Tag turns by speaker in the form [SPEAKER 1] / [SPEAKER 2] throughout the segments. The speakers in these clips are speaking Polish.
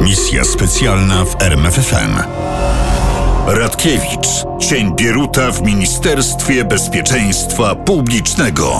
[SPEAKER 1] Misja specjalna w RMFFM. Radkiewicz, cień Bieruta w Ministerstwie Bezpieczeństwa Publicznego.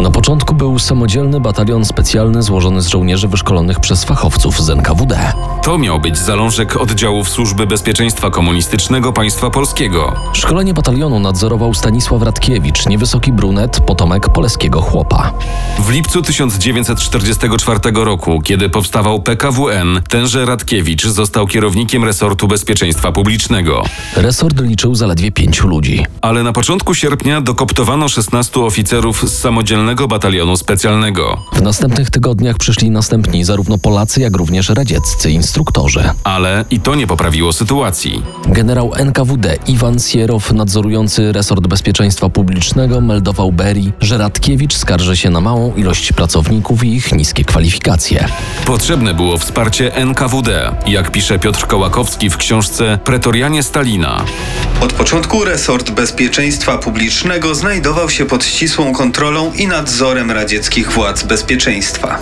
[SPEAKER 2] Na początku był samodzielny batalion specjalny złożony z żołnierzy wyszkolonych przez fachowców z NKWD.
[SPEAKER 3] To miał być zalążek oddziałów Służby Bezpieczeństwa Komunistycznego Państwa Polskiego.
[SPEAKER 2] Szkolenie batalionu nadzorował Stanisław Radkiewicz, niewysoki brunet, potomek poleskiego chłopa.
[SPEAKER 3] W lipcu 1944 roku, kiedy powstawał PKWN, tenże Radkiewicz został kierownikiem resortu bezpieczeństwa publicznego.
[SPEAKER 2] Resort liczył zaledwie pięciu ludzi.
[SPEAKER 3] Ale na początku sierpnia dokoptowano 16 oficerów z samodzielnego batalionu specjalnego.
[SPEAKER 2] W następnych tygodniach przyszli następni zarówno Polacy, jak również radzieccy instruktorzy.
[SPEAKER 3] Ale i to nie poprawiło sytuacji.
[SPEAKER 2] Generał NKWD Iwan Sierow, nadzorujący resort bezpieczeństwa publicznego, meldował Berry, że Radkiewicz skarży się na małą ilość pracowników i ich niskie kwalifikacje.
[SPEAKER 3] Potrzebne było wsparcie NKWD, jak pisze Piotr Kołakowski w książce Pretorianie Stalina.
[SPEAKER 4] Od początku resort bezpieczeństwa publicznego znajdował się pod ścisłą kontrolą i nadzorem radzieckich władz bezpieczeństwa.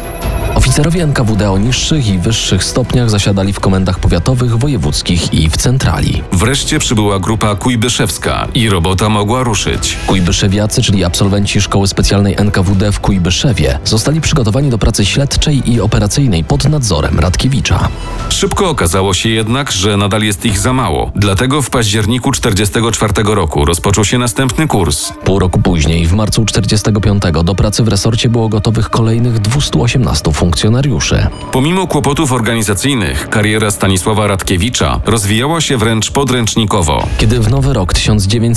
[SPEAKER 2] Oficerowie NKWD o niższych i wyższych stopniach zasiadali w komendach powiatowych, wojewódzkich i w centrali.
[SPEAKER 3] Wreszcie przybyła grupa Kujbyszewska i robota mogła ruszyć.
[SPEAKER 2] Kujbyszewiacy, czyli absolwenci szkoły specjalnej NKWD w Kujbyszewie, zostali przygotowani do pracy śledczej i operacyjnej pod nadzorem Radkiewicza.
[SPEAKER 3] Szybko okazało się jednak, że nadal jest ich za mało. Dlatego w październiku 1944 roku rozpoczął się następny kurs.
[SPEAKER 2] Pół roku później, w marcu 45, do pracy w resorcie było gotowych kolejnych 218 funkcjonariuszy.
[SPEAKER 3] Pomimo kłopotów organizacyjnych, kariera Stanisława Radkiewicza rozwijała się wręcz podręcznikowo.
[SPEAKER 2] Kiedy w nowy rok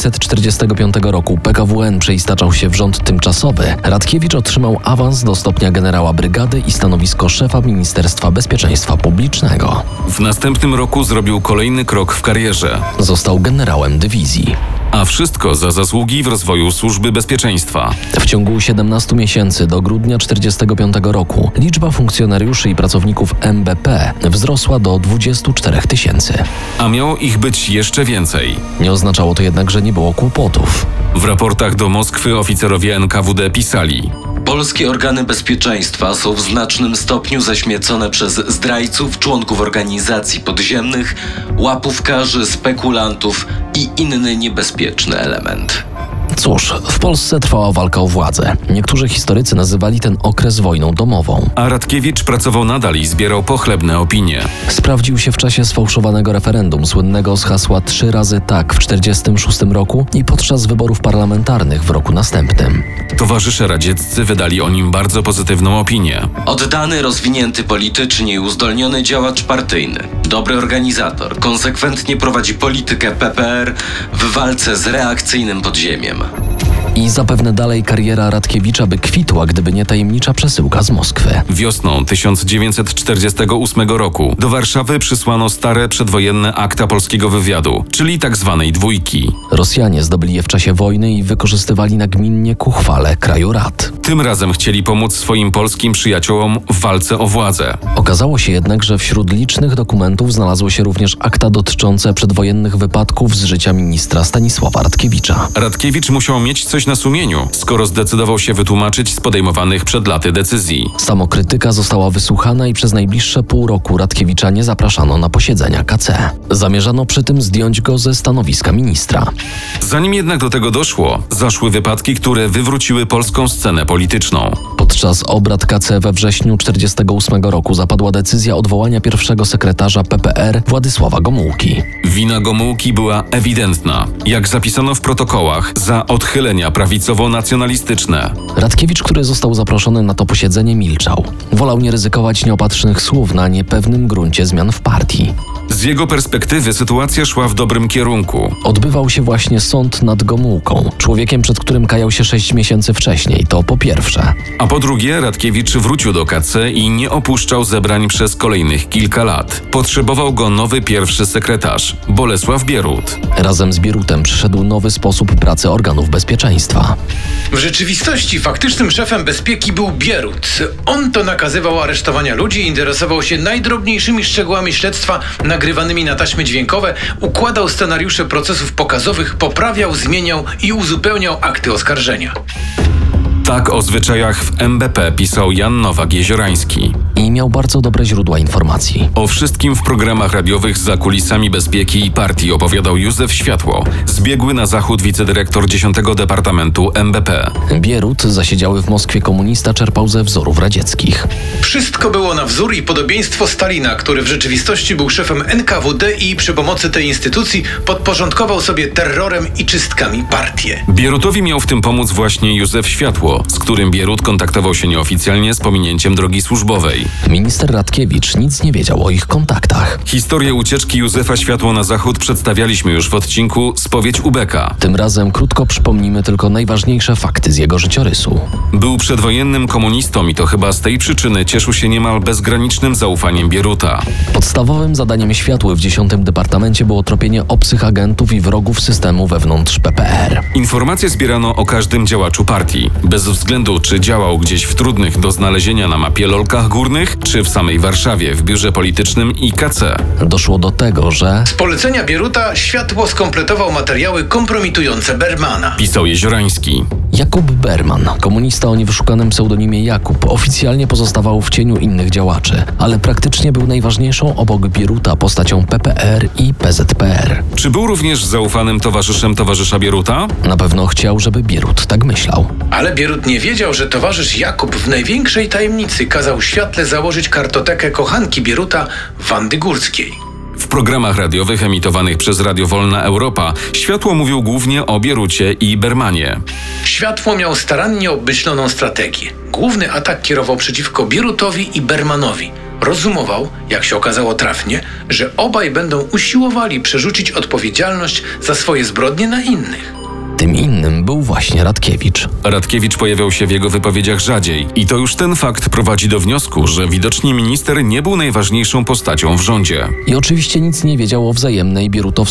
[SPEAKER 2] 1945 roku PKWN przeistaczał się w rząd tymczasowy, Radkiewicz otrzymał awans do stopnia generała brygady i stanowisko szefa Ministerstwa Bezpieczeństwa Publicznego.
[SPEAKER 3] W następnym roku zrobił kolejny krok w karierze,
[SPEAKER 2] Został generałem dywizji.
[SPEAKER 3] a wszystko za zasługi w rozwoju służby bezpieczeństwa.
[SPEAKER 2] W ciągu 17 miesięcy do grudnia 1945 roku liczba funkcjonariuszy i pracowników MBP wzrosła do 24 000 tysięcy.
[SPEAKER 3] A miało ich być jeszcze więcej.
[SPEAKER 2] Nie oznaczało to jednak, że nie było kłopotów.
[SPEAKER 3] W raportach do Moskwy oficerowie NKWD pisali:
[SPEAKER 5] Polskie organy bezpieczeństwa są w znacznym stopniu zaśmiecone przez zdrajców, członków organizacji podziemnych, łapówkarzy, spekulantów i inny niebezpieczny element.
[SPEAKER 2] Cóż, w Polsce trwała walka o władzę. Niektórzy historycy nazywali ten okres wojną domową.
[SPEAKER 3] A Radkiewicz pracował nadal i zbierał pochlebne opinie.
[SPEAKER 2] Sprawdził się w czasie sfałszowanego referendum słynnego z hasła trzy razy tak w 1946 roku i podczas wyborów parlamentarnych w roku następnym.
[SPEAKER 3] Towarzysze radzieccy wydali o nim bardzo pozytywną opinię.
[SPEAKER 5] Oddany, rozwinięty politycznie i uzdolniony działacz partyjny, dobry organizator, konsekwentnie prowadzi politykę PPR w walce z reakcyjnym podziemiem.
[SPEAKER 2] I zapewne dalej kariera Radkiewicza by kwitła, gdyby nie tajemnicza przesyłka z Moskwy.
[SPEAKER 3] Wiosną 1948 roku do Warszawy przysłano stare przedwojenne akta polskiego wywiadu, czyli tak zwanej dwójki.
[SPEAKER 2] Rosjanie zdobyli je w czasie wojny i wykorzystywali nagminnie ku chwale kraju rad.
[SPEAKER 3] Tym razem chcieli pomóc swoim polskim przyjaciołom w walce o władzę.
[SPEAKER 2] Okazało się jednak, że wśród licznych dokumentów znalazły się również akta dotyczące przedwojennych wypadków z życia ministra Stanisława Radkiewicza.
[SPEAKER 3] Radkiewicz musiał mieć coś na sumieniu, skoro zdecydował się wytłumaczyć z podejmowanych przed laty decyzji.
[SPEAKER 2] Samokrytyka została wysłuchana i przez najbliższe pół roku Radkiewicza nie zapraszano na posiedzenia KC. Zamierzano przy tym zdjąć go ze stanowiska ministra.
[SPEAKER 3] Zanim jednak do tego doszło, zaszły wypadki, które wywróciły polską scenę polityczną.
[SPEAKER 2] Podczas obrad KC we wrześniu 1948 roku zapadła decyzja odwołania pierwszego sekretarza PPR Władysława Gomułki.
[SPEAKER 3] Wina Gomułki była ewidentna, jak zapisano w protokołach, za odchylenia prawicowo-nacjonalistyczne.
[SPEAKER 2] Radkiewicz, który został zaproszony na to posiedzenie, milczał. Wolał nie ryzykować nieopatrznych słów na niepewnym gruncie zmian w partii.
[SPEAKER 3] Z jego perspektywy sytuacja szła w dobrym kierunku.
[SPEAKER 2] Odbywał się właśnie sąd nad Gomułką, człowiekiem, przed którym kajał się sześć miesięcy wcześniej, to po pierwsze.
[SPEAKER 3] A po drugie, Radkiewicz wrócił do KC i nie opuszczał zebrań przez kolejnych kilka lat. Potrzebował go nowy pierwszy sekretarz, Bolesław Bierut.
[SPEAKER 2] Razem z Bierutem przyszedł nowy sposób pracy organów bezpieczeństwa.
[SPEAKER 6] W rzeczywistości faktycznym szefem bezpieki był Bierut. On to nakazywał aresztowania ludzi, interesował się najdrobniejszymi szczegółami śledztwa nagrywanymi na taśmy dźwiękowe, układał scenariusze procesów pokazowych, poprawiał, zmieniał i uzupełniał akty oskarżenia.
[SPEAKER 3] Tak o zwyczajach w MBP pisał Jan Nowak-Jeziorański.
[SPEAKER 2] i miał bardzo dobre źródła informacji.
[SPEAKER 3] O wszystkim w programach radiowych za kulisami bezpieki i partii opowiadał Józef Światło, zbiegły na zachód wicedyrektor 10 Departamentu MBP.
[SPEAKER 2] Bierut, zasiedziały w Moskwie komunista, czerpał ze wzorów radzieckich.
[SPEAKER 6] Wszystko było na wzór i podobieństwo Stalina, który w rzeczywistości był szefem NKWD i przy pomocy tej instytucji podporządkował sobie terrorem i czystkami partię.
[SPEAKER 3] Bierutowi miał w tym pomóc właśnie Józef Światło, z którym Bierut kontaktował się nieoficjalnie z pominięciem drogi służbowej.
[SPEAKER 2] Minister Radkiewicz nic nie wiedział o ich kontaktach.
[SPEAKER 3] Historię ucieczki Józefa Światło na zachód przedstawialiśmy już w odcinku Spowiedź Ubeka.
[SPEAKER 2] Tym razem krótko przypomnimy tylko najważniejsze fakty z jego życiorysu.
[SPEAKER 3] Był przedwojennym komunistą i to chyba z tej przyczyny cieszył się niemal bezgranicznym zaufaniem Bieruta.
[SPEAKER 2] Podstawowym zadaniem światły w 10 Departamencie było tropienie obcych agentów i wrogów systemu wewnątrz PPR.
[SPEAKER 3] Informacje zbierano o każdym działaczu partii, bez względu czy działał gdzieś w trudnych do znalezienia na mapie lolkach górnych, czy w samej Warszawie w biurze politycznym IKC.
[SPEAKER 2] Doszło do tego, że
[SPEAKER 6] Z polecenia Bieruta światło skompletował materiały kompromitujące Bermana.
[SPEAKER 3] Pisał Jeziorański.
[SPEAKER 2] Jakub Berman, komunista o niewyszukanym pseudonimie Jakub, oficjalnie pozostawał w cieniu innych działaczy, ale praktycznie był najważniejszą obok Bieruta postacią PPR i PZPR.
[SPEAKER 3] Czy był również zaufanym towarzyszem towarzysza Bieruta?
[SPEAKER 2] Na pewno chciał, żeby Bierut tak myślał.
[SPEAKER 6] Ale Bierut nie wiedział, że towarzysz Jakub w największej tajemnicy kazał światle założyć kartotekę kochanki Bieruta Wandy Górskiej.
[SPEAKER 3] W programach radiowych emitowanych przez Radio Wolna Europa światło mówił głównie o Bierucie i Bermanie.
[SPEAKER 6] Światło miał starannie obmyśloną strategię. Główny atak kierował przeciwko Bierutowi i Bermanowi. Rozumował, jak się okazało trafnie, że obaj będą usiłowali przerzucić odpowiedzialność za swoje zbrodnie na innych.
[SPEAKER 2] Tym innym był właśnie Radkiewicz.
[SPEAKER 3] Radkiewicz pojawiał się w jego wypowiedziach rzadziej i to już ten fakt prowadzi do wniosku, że widocznie minister nie był najważniejszą postacią w rządzie.
[SPEAKER 2] I oczywiście nic nie wiedział o wzajemnej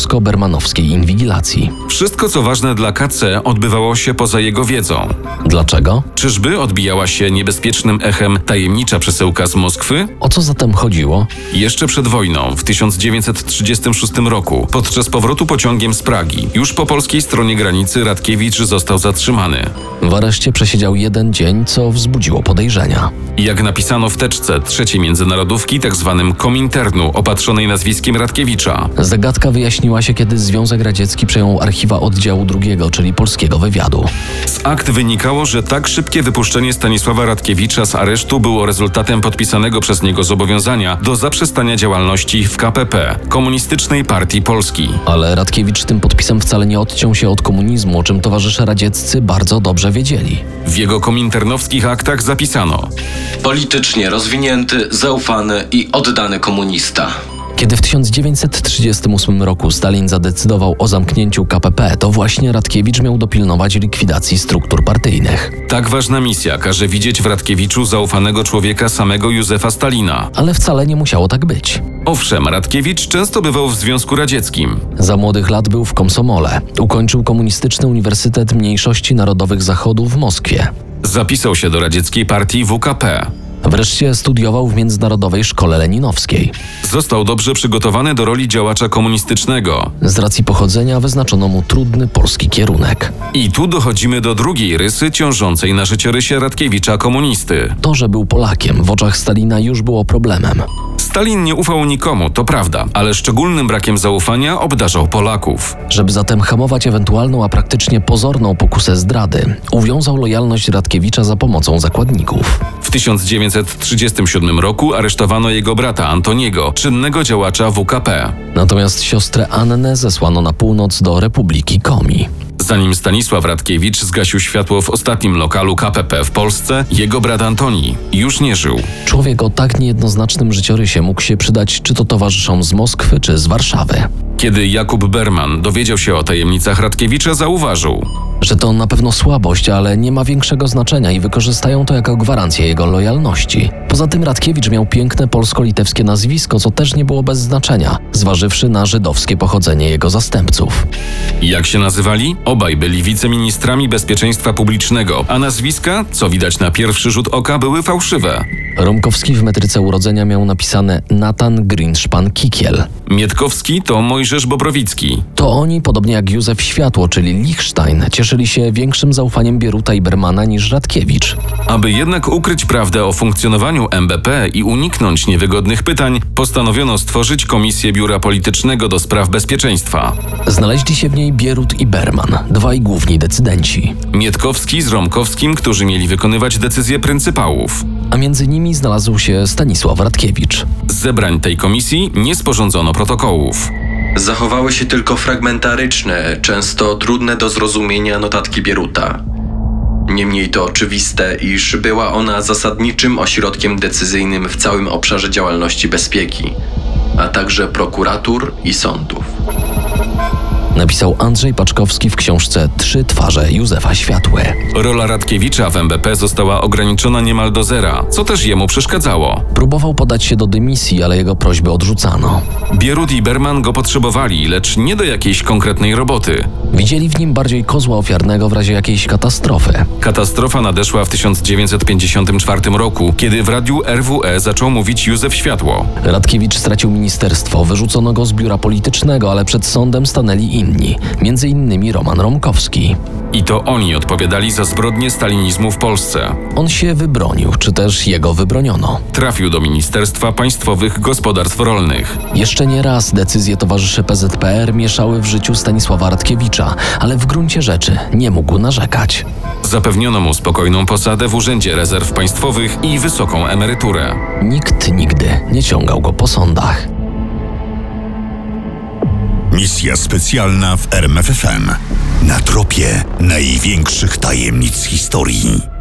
[SPEAKER 2] bierutowsko-bermanowskiej inwigilacji.
[SPEAKER 3] Wszystko co ważne dla KC odbywało się poza jego wiedzą.
[SPEAKER 2] Dlaczego?
[SPEAKER 3] Czyżby odbijała się niebezpiecznym echem tajemnicza przesyłka z Moskwy?
[SPEAKER 2] O co zatem chodziło?
[SPEAKER 3] Jeszcze przed wojną, w 1936 roku, podczas powrotu pociągiem z Pragi, już po polskiej stronie granicy Radkiewicz został zatrzymany.
[SPEAKER 2] W areszcie przesiedział jeden dzień, co wzbudziło podejrzenia.
[SPEAKER 3] Jak napisano w teczce trzeciej międzynarodówki, tak zwanym Kominternu, opatrzonej nazwiskiem Radkiewicza.
[SPEAKER 2] Zagadka wyjaśniła się, kiedy Związek Radziecki przejął archiwa oddziału drugiego, czyli polskiego wywiadu.
[SPEAKER 3] Z akt wynikało, że tak szybkie wypuszczenie Stanisława Radkiewicza z aresztu było rezultatem podpisanego przez niego zobowiązania do zaprzestania działalności w KPP, Komunistycznej Partii Polski.
[SPEAKER 2] Ale Radkiewicz tym podpisem wcale nie odciął się od komunizmu, o czym towarzysze radzieccy bardzo dobrze wiedzieli.
[SPEAKER 3] W jego kominternowskich aktach zapisano
[SPEAKER 5] Politycznie rozwinięty, zaufany i oddany komunista.
[SPEAKER 2] Kiedy w 1938 roku Stalin zadecydował o zamknięciu KPP, to właśnie Radkiewicz miał dopilnować likwidacji struktur partyjnych.
[SPEAKER 3] Tak ważna misja każe widzieć w Radkiewiczu zaufanego człowieka samego Józefa Stalina.
[SPEAKER 2] Ale wcale nie musiało tak być.
[SPEAKER 3] Owszem, Radkiewicz często bywał w Związku Radzieckim.
[SPEAKER 2] Za młodych lat był w Komsomole. Ukończył Komunistyczny Uniwersytet Mniejszości Narodowych Zachodu w Moskwie.
[SPEAKER 3] Zapisał się do radzieckiej partii WKP.
[SPEAKER 2] Wreszcie studiował w Międzynarodowej Szkole Leninowskiej.
[SPEAKER 3] Został dobrze przygotowany do roli działacza komunistycznego.
[SPEAKER 2] Z racji pochodzenia wyznaczono mu trudny polski kierunek.
[SPEAKER 3] I tu dochodzimy do drugiej rysy ciążącej na życiorysie Radkiewicza komunisty.
[SPEAKER 2] To, że był Polakiem, w oczach Stalina już było problemem.
[SPEAKER 3] Stalin nie ufał nikomu, to prawda, ale szczególnym brakiem zaufania obdarzał Polaków.
[SPEAKER 2] Żeby zatem hamować ewentualną, a praktycznie pozorną pokusę zdrady, uwiązał lojalność Radkiewicza za pomocą zakładników.
[SPEAKER 3] W 1937 roku aresztowano jego brata Antoniego, czynnego działacza WKP.
[SPEAKER 2] Natomiast siostrę Annę zesłano na północ do Republiki Komi.
[SPEAKER 3] Zanim Stanisław Radkiewicz zgasił światło w ostatnim lokalu KPP w Polsce, jego brat Antoni już nie żył.
[SPEAKER 2] Człowiek o tak niejednoznacznym życiorysie mógł się przydać czy to towarzyszom z Moskwy, czy z Warszawy.
[SPEAKER 3] Kiedy Jakub Berman dowiedział się o tajemnicach Radkiewicza, zauważył.
[SPEAKER 2] Że to na pewno słabość, ale nie ma większego znaczenia i wykorzystają to jako gwarancję jego lojalności. Poza tym Radkiewicz miał piękne polsko-litewskie nazwisko, co też nie było bez znaczenia, zważywszy na żydowskie pochodzenie jego zastępców.
[SPEAKER 3] Jak się nazywali? Obaj byli wiceministrami bezpieczeństwa publicznego, a nazwiska, co widać na pierwszy rzut oka, były fałszywe.
[SPEAKER 2] Romkowski w metryce urodzenia miał napisane Nathan Grinspan Kikiel.
[SPEAKER 3] Mietkowski to Mojżesz Bobrowicki,
[SPEAKER 2] To oni, podobnie jak Józef Światło, czyli Lichstein, cieszyli się większym zaufaniem Bieruta i Bermana niż Radkiewicz.
[SPEAKER 3] Aby jednak ukryć prawdę o funkcjonowaniu MBP i uniknąć niewygodnych pytań, postanowiono stworzyć Komisję Biura Politycznego do Spraw Bezpieczeństwa.
[SPEAKER 2] Znaleźli się w niej Bierut i Berman, dwaj główni decydenci.
[SPEAKER 3] Mietkowski z Romkowskim, którzy mieli wykonywać decyzje pryncypałów.
[SPEAKER 2] A między nimi znalazł się Stanisław Radkiewicz.
[SPEAKER 3] Z zebrań tej komisji nie sporządzono protokołów.
[SPEAKER 5] Zachowały się tylko fragmentaryczne, często trudne do zrozumienia notatki Bieruta. Niemniej to oczywiste, iż była ona zasadniczym ośrodkiem decyzyjnym w całym obszarze działalności bezpieki, a także prokuratur i sądów.
[SPEAKER 2] Napisał Andrzej Paczkowski w książce Trzy twarze Józefa Światły.
[SPEAKER 3] Rola Radkiewicza w MBP została ograniczona niemal do zera, co też jemu przeszkadzało.
[SPEAKER 2] Próbował podać się do dymisji, ale jego prośby odrzucano.
[SPEAKER 3] Bierut i Berman go potrzebowali, lecz nie do jakiejś konkretnej roboty.
[SPEAKER 2] Widzieli w nim bardziej kozła ofiarnego w razie jakiejś katastrofy.
[SPEAKER 3] Katastrofa nadeszła w 1954 roku, kiedy w radiu RWE zaczął mówić Józef Światło.
[SPEAKER 2] Radkiewicz stracił ministerstwo, wyrzucono go z biura politycznego, ale przed sądem stanęli inni, między innymi Roman Romkowski.
[SPEAKER 3] I to oni odpowiadali za zbrodnie stalinizmu w Polsce.
[SPEAKER 2] On się wybronił, czy też jego wybroniono.
[SPEAKER 3] Trafił do Ministerstwa Państwowych Gospodarstw Rolnych.
[SPEAKER 2] Jeszcze nie raz decyzje towarzyszy PZPR mieszały w życiu Stanisława Radkiewicza, ale w gruncie rzeczy nie mógł narzekać.
[SPEAKER 3] Zapewniono mu spokojną posadę w Urzędzie Rezerw Państwowych i wysoką emeryturę.
[SPEAKER 2] Nikt nigdy nie ciągał go po sądach.
[SPEAKER 1] Misja specjalna w RMFFM. Na tropie największych tajemnic historii.